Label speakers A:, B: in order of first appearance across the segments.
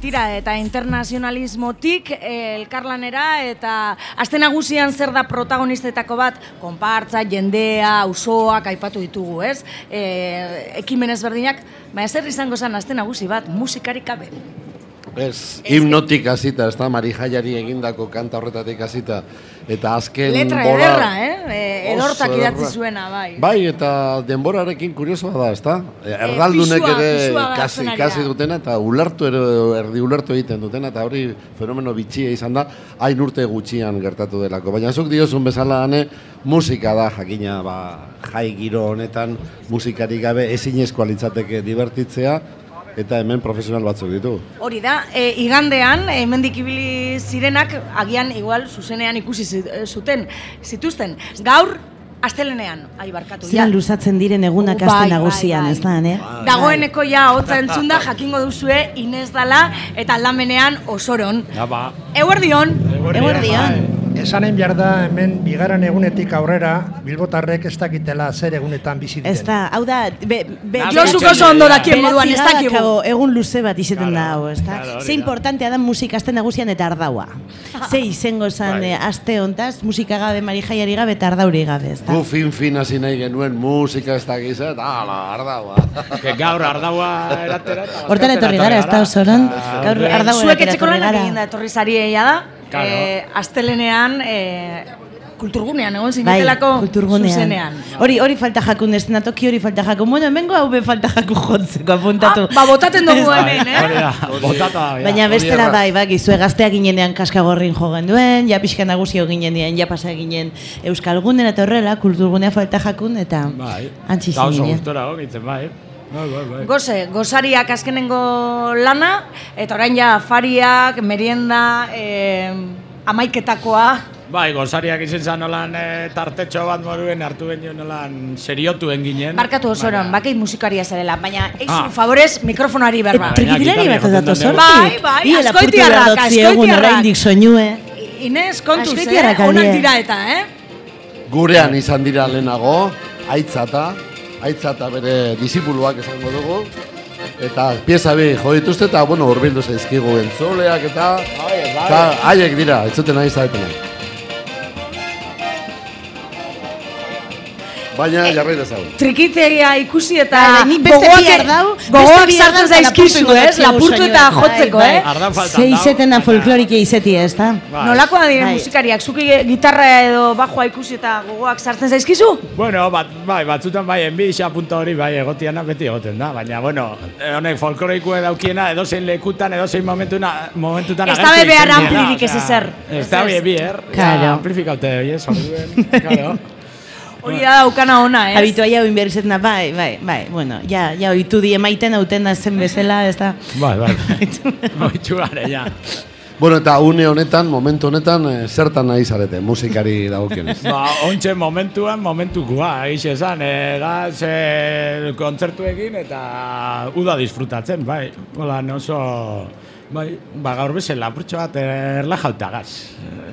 A: Tira, eta internazionalismotik eh, elkarlanera, eta aste nagusian zer da protagonistetako bat, konpartza, jendea, auzoak aipatu ditugu, ez? E, ekimen ezberdinak, baina zer izango zen aste nagusi bat, musikarik gabe.
B: Ez, himnotik hasita, ez da, Marijaiari egindako kanta horretatik hasita eta azken
A: Letra
B: bola-
A: ederra, eh? E,
B: Oso
A: edortak idatzi
B: ederra.
A: zuena, bai. E,
B: Bai, eta denborarekin kuriosoa da, ezta? Erdaldunek
A: pisua-
B: ere
A: pisua garatzen
B: kasi,
A: ari da.
B: kasi dutena eta ulertu ere, erdi ulertu egiten dutena eta hori fenomeno bitxia izan da, hain urte gutxian gertatu delako. Baina zuk diozun bezala ane, musika da jakina ba, jai giro honetan musikarik gabe ezinezkoa litzateke divertitzea eta hemen profesional batzuk ditu.
A: Hori da, e, igandean, e, hemendik ibili zirenak, agian igual zuzenean ikusi zi- e, zuten, zituzten. Gaur, astelenean, ai barkatu. ja.
C: Zian luzatzen diren egunak
A: Bai, bai,
C: aste nagusian,
A: bai.
C: ez da, ne?
A: Dagoeneko ja hotza entzunda jakingo duzue Inez dala eta aldamenean osoron.
D: Da, ba.
A: Eguerdion,
C: Eguerdian.
E: Esanen behar da, hemen bigarren egunetik aurrera, bilbotarrek ez dakitela zer egunetan bizi diren.
C: Ez da, hau da, be, be,
D: Nabe
A: Josu oso ondo dakien moduan
C: Beratzi
A: ez
C: gadak
A: dakigu.
C: hau, egun luze bat izeten da hau, ez da?
D: claro, hori
C: Ze
D: da.
C: importantea da musika aste nagusian eta ardaua. Ze izango zan
D: Bai.
C: eh, aste hontaz, musika gabe, marijaiari gabe eta ardauri gabe, ez da?
B: Gu fin fin hasi nahi genuen musika ez da giza, eta ala, ardaua.
D: Que gaur ardaua eratera. eta
C: Hortara etorri gara, ez da osoron?
D: Ah,
C: Gaur
D: hombre.
C: ardaua
A: eh, zuek
C: eratera
A: etxeko
C: etorri
A: lanak
C: gara.
A: egin da etorri zarieia da.
D: Claro.
A: E, astelenean, e, kulturgunean egon
C: Bai,
A: zinetelako
C: kulturgunean.
A: zuzenean.
C: Hori, hori falta jakun, ez toki hori falta jakun. Bueno, hemengo hau be falta jakun jontzeko apuntatu.
A: Ah, ba, botaten dugu
C: Ez da.
A: hemen, eh?
D: bai, Hori da, botata. ja.
C: Baina bestela
B: erraz.
C: bai, bakizue gaztea ginenean kaskagorrin jo genuen, ja pixka nagusio ginen dien, ja pasa ginen Euskalgunen eta horrela, kulturgunea falta jakun, eta
D: Bai.
C: antzi
D: Da oso
C: zinen. ja.
D: gustora gogitzen, bai. Bai, bai, bai.
A: Goze, gozariak azkenengo lana, eta orain ja fariak, merienda, eh, amaiketakoa,
D: Bai, gozariak izen zan nolan eh, tartetxo bat moruen hartu genio nolan seriotuen ginen.
A: markatu osoron, bakei musikaria zarela, baina eizu
D: Bai. Ah.
A: favorez mikrofonari
C: Eta
A: berba.
D: Bai, baina
C: trikitari
D: gitarra
C: bat ez
D: jotzen
C: dato
D: dut neu.
C: sortik.
A: Bai, bai,
C: Ia, lapurtu behar
A: askoitiarrak,
C: dut ziegun
A: askoitiarrak.
C: oraindik soinue.
A: Inez, kontuz, eh?
C: Azkoitiarrak alde.
A: Onak dira eta, eh?
B: Gurean izan dira lehenago, aitzata, aitzata bere disipuluak esango dugu, eta pieza bi jo dituzte eta, bueno, urbildu zaizkigu entzuleak eta, eta haiek dira, entzuten nahi zaretena. Baina jarrai dezagun.
A: Trikiteria ikusi eta
C: Bai, nik beste
A: gogoak-
C: bi ardau-
A: gogoak
C: beste bi
A: Ah, sartzen
C: ardau eta
A: zaizkizu,
C: lapurtu
A: ez?
C: ingo
A: Lapurtu
C: dizkigu
A: eta
C: soinua.
A: jotzeko,
C: Bai,
A: eh?
C: bai.
D: Ardan faltan
C: Ze
D: dau,
C: izetena
D: baina-
C: folklorike izetia, ez da?
D: Bai.
A: Nolakoa diren
C: Bai.
A: musikariak, zuki gitarra edo bajoa ikusi eta gogoak sartzen zaizkizu?
D: Bueno, bat, bai, batzutan bai, enbixa punta hori bai, egotiana beti egoten da, baina, bueno, eh, honek folklorikoa daukiena, edozein lekutan, edozein momentuna, momentutan
A: Ez dabe behar amplirik ez ezer.
D: Ez da
A: Ez ez.
D: behar,
C: Claro.
D: ja, amplifikaute, oie, sortuen, claro.
A: Hori da daukana ona, ez?
C: Habitua ja oin behar izaten da, bai, bai, bai, bueno, ja, ja, oitu die maiten hauten da zen bezala, ez da?
D: Bai, bai, moitxu gare, ja.
B: Bueno, eta une honetan, momentu honetan, eh, zertan nahi zarete, musikari dagokionez.
D: Ba, ontxe momentuan, momentukua, egixe esan, eh, da, ze kontzertu egin eta uda disfrutatzen, bai, hola, oso, bai, ba, gaur bezala, lapurtxo bat eh, erla jautagaz.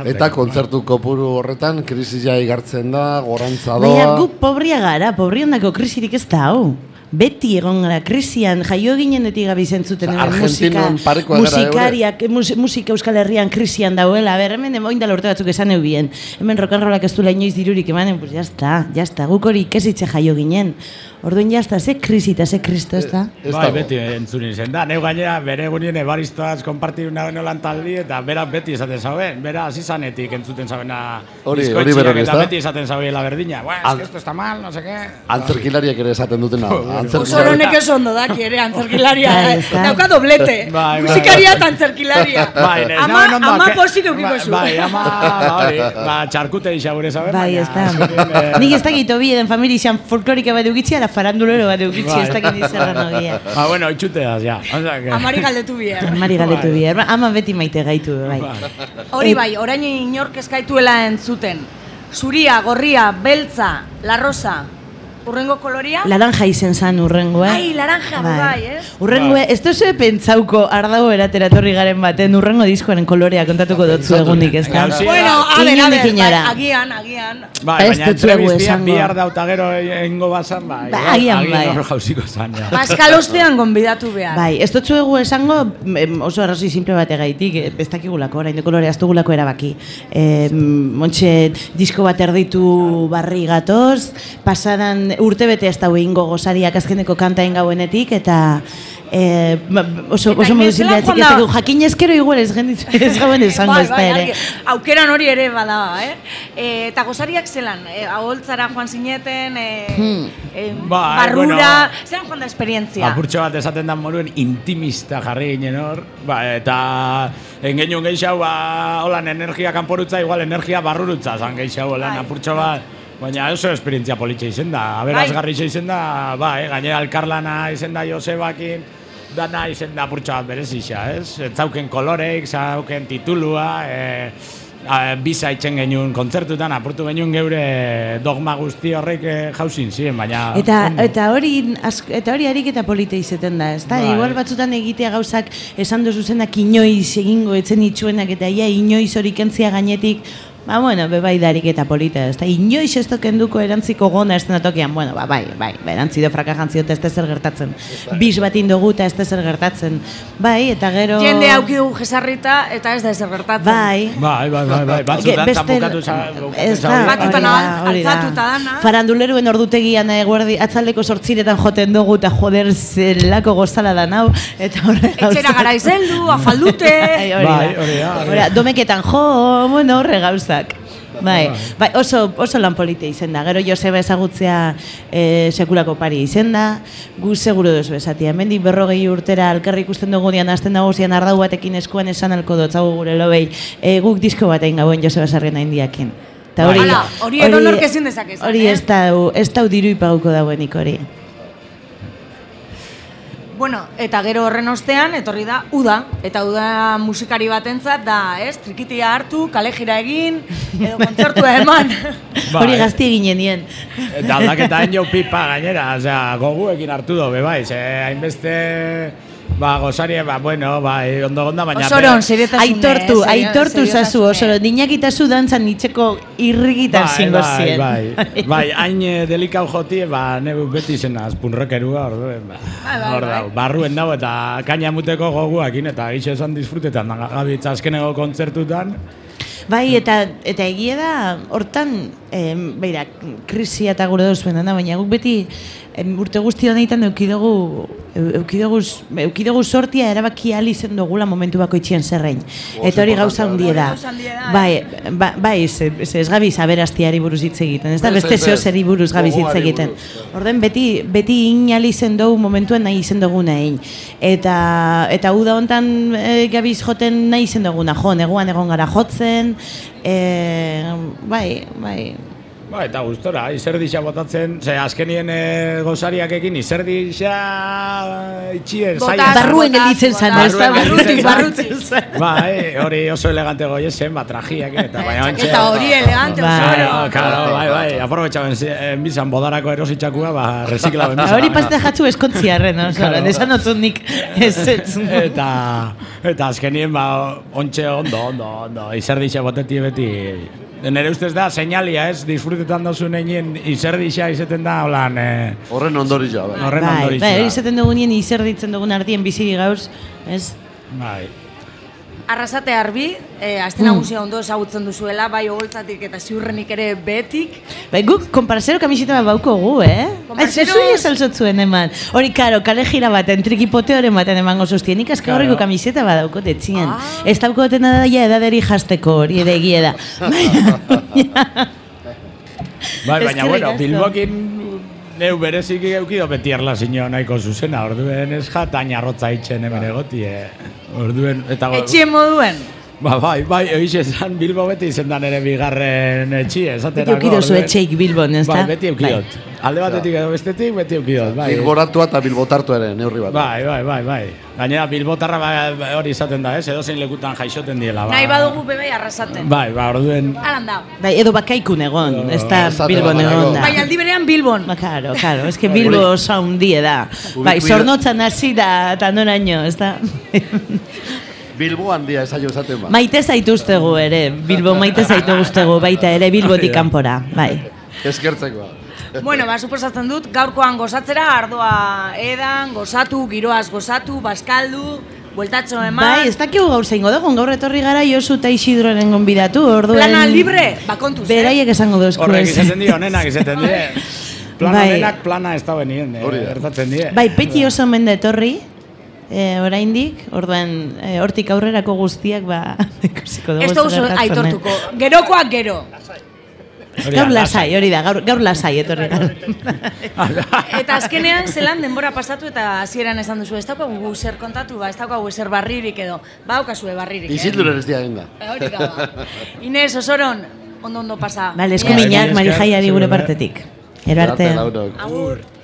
D: Bai,
B: Eta kontzertu kopuru horretan, krisia igartzen da, gorantza doa.
C: Baina gu pobria gara, pobriondako krisirik ez da hau. Beti egon gara krisian, jaio ginenetik gabe izentzuten
B: Osea,
C: hemen musika,
B: Argentinon parekoa gara,
C: musikariak, mus, musika Euskal Herrian krisian dauela, ber, hemen emoin dela urte batzuk esan eubien, hemen rokanrolak ez du inoiz dirurik emanen, pues jazta, jazta, guk hori ikesitxe jaio ginen. Orduan jazta, ze krisi eta ze kristo ez da?
B: Ez
D: bai,
B: dago.
D: beti entzun izen da. Neu gainera, bere egunien ebaristoaz kompartidu nagoen olan taldi, eta bera beti esaten zauen, bera azizanetik entzuten zaubena
B: Hori-
D: diskoetxeak,
B: hori beroak,
D: eta
B: ezta?
D: beti esaten zauela berdina. Buah,
B: Al-
D: es que esto está mal, no sé qué.
B: Antzerkilariak ere esaten dutena.
D: Bai.
B: Antzerkilariak.
A: Osoronek oso ondo daki ere, antzerkilaria.
C: Bai, ez da.
A: Dauka doblete.
D: Bai, bai,
A: Musikaria eta antzerkilaria.
D: Bai, nez
A: ama,
D: nagoen ondo
A: ama
D: ake-
A: pozik eukiko zu.
D: Bai, ama, ba, hori, ba, txarkute isa gure zauen,
C: Bai, ez da.
D: azkenean, eh,
C: Nik ez dakit obi eden familia izan folklorika bat eukitzi, ala farandulero bat eukitzi,
D: Bai.
C: ez dakit izerran ogia.
D: Ba, Ah, bueno, itxuteaz, ja. O sea, que...
A: Amari galdetu bihar.
C: Mari galetu
D: Bai.
C: bihar, ama beti maite gaitu, bai.
A: Hori bai, orain inork eskaituela entzuten. Zuria, gorria, beltza, larrosa, Urrengo koloria?
C: Laranja izen zan urrengoa.
A: Ai, laranja, bai, ez?
C: Urrengo,
D: Bai.
C: ez duzu pentsauko ardago eratera etorri garen baten, urrengo diskoaren kolorea kontatuko dotzu
B: Pentsatu
C: egunik, ez da?
D: Gauzia.
A: Bueno, a ver, a
C: Inondik
A: ver, bai,
C: inora.
A: agian, agian.
D: Bai,
C: Ez
D: baina
C: dut zuegu
D: entrevistian
C: esango.
D: bihar dauta gero egingo bazan, bai.
C: Ba, agian bai.
D: hor jauziko zan, ja.
A: Pascal ostean gonbidatu behar.
C: Bai, ez dotzu egu esango em, oso arrazoi simple bategaitik, eh, ez dakigulako, orain de kolorea ez dugulako erabaki. Em, Montxe, disko bat erditu barri gatoz, pasadan urte bete ez dago ingo gozariak azkeneko kantain gauenetik, eta eh, ba- oso,
A: Eta
C: oso modu
A: inoiz lan
C: simple ez
A: joan da.
C: dago, jakin ezkero igual ez genditu ez gauen esango
A: Bai,
C: ez da
A: bai,
C: ere.
A: argi. Aukeran hori ere bada, eh? E, eta gozariak zelan, e, aholtzara joan zineten, e,
C: Hmm.
A: e,
D: Bai,
A: barrura,
D: bueno.
A: zelan joan da esperientzia?
D: Apurtxo bat esaten dan moruen intimista jarri ginen hor, ba, eta engenuen geixau, ba, holan energia kanporutza, igual energia barrurutza zan geixau, holan
A: Bai.
D: apurtxo bat, baina oso esperientzia politxe izen da, aberazgarri izen da, ba, eh, gainera alkarlana izen da Josebakin, dana izen da apurtxo bat berezisa, ez? Zauken koloreik, zauken titulua, eh, a, Biza itxen genuen kontzertutan, apurtu genuen geure dogma guzti horrek eh, jauzin ziren, baina...
C: Eta,
D: ondo.
C: eta hori ask- eta hori harik eta polite izeten da, ezta?
D: Bai.
C: Igual batzutan egitea gauzak esan duzu zenak inoiz egingo etzen itxuenak eta ia inoiz hori kentzia gainetik Ba, bueno, be bai darik eta polita, ezta? Inoiz ez tokenduko erantziko gona ez tokian, bueno, ba, bai, bai, ba, erantzi do fraka jantzio eta ez da zer gertatzen. Bis bat indogu eta ez da zer gertatzen. Bai, eta gero...
A: Jende auki dugu jesarrita eta ez da ezer gertatzen.
C: Bai,
D: Bai, bai, bai, bai. Batzutan
C: Beste- Ah,
D: zampukatu za...
C: Ez da,
A: Batzutan
C: hori da,
A: al-
C: hori da.
A: altzatuta dana.
C: Faranduleruen ordutegian eh, eguerdi atzaleko sortziretan joten dugu eta joder zelako gozala da nau. Eta horre
A: Etxera gara izeldu, afaldute.
C: Bai, hori
D: Bai,
C: da.
D: hori da, hori da.
C: Hori da, Domeketan jo, bueno, horre gauzak. Bai, bai, oso, oso lan politia izen da. Gero Joseba ezagutzea eh, sekulako pari izen da. Gu seguro duzu esatia. Hemendik berrogei urtera alkarri ikusten dugunean azten nagusian ardau batekin eskuan esan alko dotzago gure lobei. Eh, guk disko batein gauen Joseba Sarriena indiakin. Ta hori,
A: Hala, hori edonork ezin dezake izan,
C: Hori
A: eh?
C: ez dau, ez dau diru ipaguko dauenik hori.
A: Bueno, eta gero horren ostean, etorri da, uda. Eta uda musikari batentzat da, ez, trikitia hartu, kale jira egin, edo kontzertua eman.
D: Bai.
C: Hori gazti eginen nien.
D: Eta aldaketa jo pipa gainera, osea, goguekin hartu do, be, bai, ze hainbeste... Ba, gozarie, ba, bueno, bai, ondo gonda, baina...
A: Osoron,
D: be-
A: seriotasune.
C: Aitortu,
A: eh, serio-
C: aitortu zazu oso,
A: seriotasune.
C: dinakitazu dantzan itxeko irrigitan
D: Bai,
C: zingo
D: bai,
C: zien.
D: bai, bai, hain eh, delikau joti, ba, neu beti zen azpunrokerua, orduen, ba,
A: bai,
D: hor
A: bai.
D: dau, barruen dago eta kaina muteko goguakin, eta gitxe esan disfrutetan, da, gabi, eta azkenego kontzertutan,
C: Bai, eta, eta egia da, hortan, eh, beira, krisia eta gure dozuen da, baina guk beti em, urte guzti honetan egiten eukidugu, eukidugu, eukidugu sortia erabaki ahal izen dugula momentu bako itxian zerrein. eta hori gauza hundie da.
A: Hori gauza handia da, eh?
C: Bai, ba, bai, ze, ze ez gabiz aberastiari buruz hitz egiten, ez da
B: Ez,
C: beste
B: ez,
C: zeo
B: ez.
C: zeri buruz gabiz hitz
B: Gogoari
C: egiten.
B: buruz, bai.
C: Orden beti beti inal izen dugu momentuan nahi izen duguna egin. Eta eta uda hontan e, gabiz joten nahi izen duguna jo, neguan egon gara jotzen. E, bai, bai.
D: Ba, eta gustora, izerdisa botatzen, ze azkenien e, gozariak ekin izerdisa itxien,
A: Botaz,
D: zaila zen.
C: Barruen
A: botaz,
C: gelditzen zan,
A: botaz.
C: ez da?
D: Barruen
C: Barrutik,
D: gelditzen zan.
C: barrutik.
D: Ba, eh, hori oso elegante goie zen, ba, trajiak eta baina ontxe.
A: Eta hori elegante,
C: Bai.
D: Bai,
A: osoro.
D: ah, claro, bai, bai, aprobetxaben zi- eh, bizan bodarako erositxakua, ba, reziklaben
C: Ba,
D: bizan.
C: Hori paste jatzu eskontziarren, no? Zoran, esan otzun nik ez ez.
D: Eta, eta azkenien, ba, ontxe ondo, ondo, ondo, izerdisa boteti beti. Nere ustez da, seinalia ez, disfrutetan dozu neinen izerdisa izeten da, holan, eh,
B: Horren ondori joa, bai.
D: horren
C: Bai,
D: ondorioa.
C: bai, hori izaten dugunien izer ditzen dugun artien biziri gauz, ez?
D: Bai.
A: Arrasate harbi, e, azte
C: Mm.
A: nagusia ondo ezagutzen duzuela, bai ogoltzatik eta ziurrenik ere betik.
C: Bai, guk konparsero kamiseta bat bauko gu, eh?
A: Konparseros-
C: Konparsero... esaltzotzuen eman. Hori, karo, kale jira baten, trikipoteoren baten emango sostienik, azka
D: Claro. Ah.
C: horreko kamiseta bat daukot etzian. Ez dauko dena da ja edaderi jasteko hori ere egia da. Baina-
D: Bai,
C: Eskerrik
D: baina, bueno,
C: asko.
D: Bilbokin uh, neu bereziki eukido beti erla zinio nahiko zuzena, orduen ez jatain arrotza itxen hemen egoti, eh. Orduen, eta...
A: Etxien moduen.
D: Ba, bai, bai, egiz esan Bilbo beti izendan ere bigarren etxie,
C: Beti
D: esaterako.
C: eukido zu
D: orduen.
C: etxeik Bilbon, ez da?
D: eh. Bai, beti eukidot. Alde batetik edo bestetik, beti eukidot, bai.
B: Bilboratua eta bilbotartuaren neurri bat.
D: Bai, bai, bai, bai. Gainera, bilbotarra bai, hori izaten da, ez? Edo zein lekutan jaixoten diela. Ba.
A: Nahi badugu bebe arrasaten.
D: Bai, ba, orduen...
A: Alan da.
C: Bai, edo bakaikun egon,
D: Ah,
C: ez da
B: ez da
C: Bilbon
B: Bilbon
C: egon
B: egon.
C: da.
A: Baina Bai, aldi berean Bilbon.
C: Ba, Claro, claro, es que Bilbo oso handie da. Bai,
B: Ubikuida-
C: zornotzan hasi da, eta noraino, ez da?
D: Bai.
B: Bilbo handia esaio esaten ba.
C: maite zaituztegu ere, Bilbo maite zaituztegu, baita ere Bilbotik kanpora, bai.
B: Eskertzekoa.
A: Bueno, ba, suposatzen dut, gaurkoan gozatzera, ardoa edan, gozatu, giroaz gozatu, baskaldu, bueltatxo eman.
C: Bai, ez dakigu gaur zeingo dugun, gaur etorri gara Josu eta Isidroren gonbidatu, orduen...
A: Plana libre, bakontuz, eh?
C: Beraiek esango dozku
D: Horrek izaten dio, onenak izaten die. Plan
C: Bai.
D: onenak plana ez da benien, eh,
B: Hori da.
D: gertatzen die.
C: Bai, peti oso mende etorri, e, oraindik, orduan e, hortik aurrerako guztiak ba ikusiko dugu.
A: Ez da oso
C: zer gertatzen eh? den.
A: aitortuko. Gerokoak gero.
D: Hori da,
C: Gaur lasai, hori da, gaur, gaur lasai etorri gara.
A: Bai. Eta azkenean zelan denbora pasatu eta hasieran esan duzu, ez daukagu zer kontatu, ba, ez daukagu zer barririk edo, ba, daukazue barririk. eh?
B: Isilduren ez dira egin da.
A: Hori da. ba. Inez, osoron, ondo ondo pasa. Inez.
C: Vale,
D: Bai, mila
C: eskuminak
D: esker,
C: Marijaiari gure
D: seguru, eh?
C: partetik. Ero arte.
B: Arte launok.
A: Agur.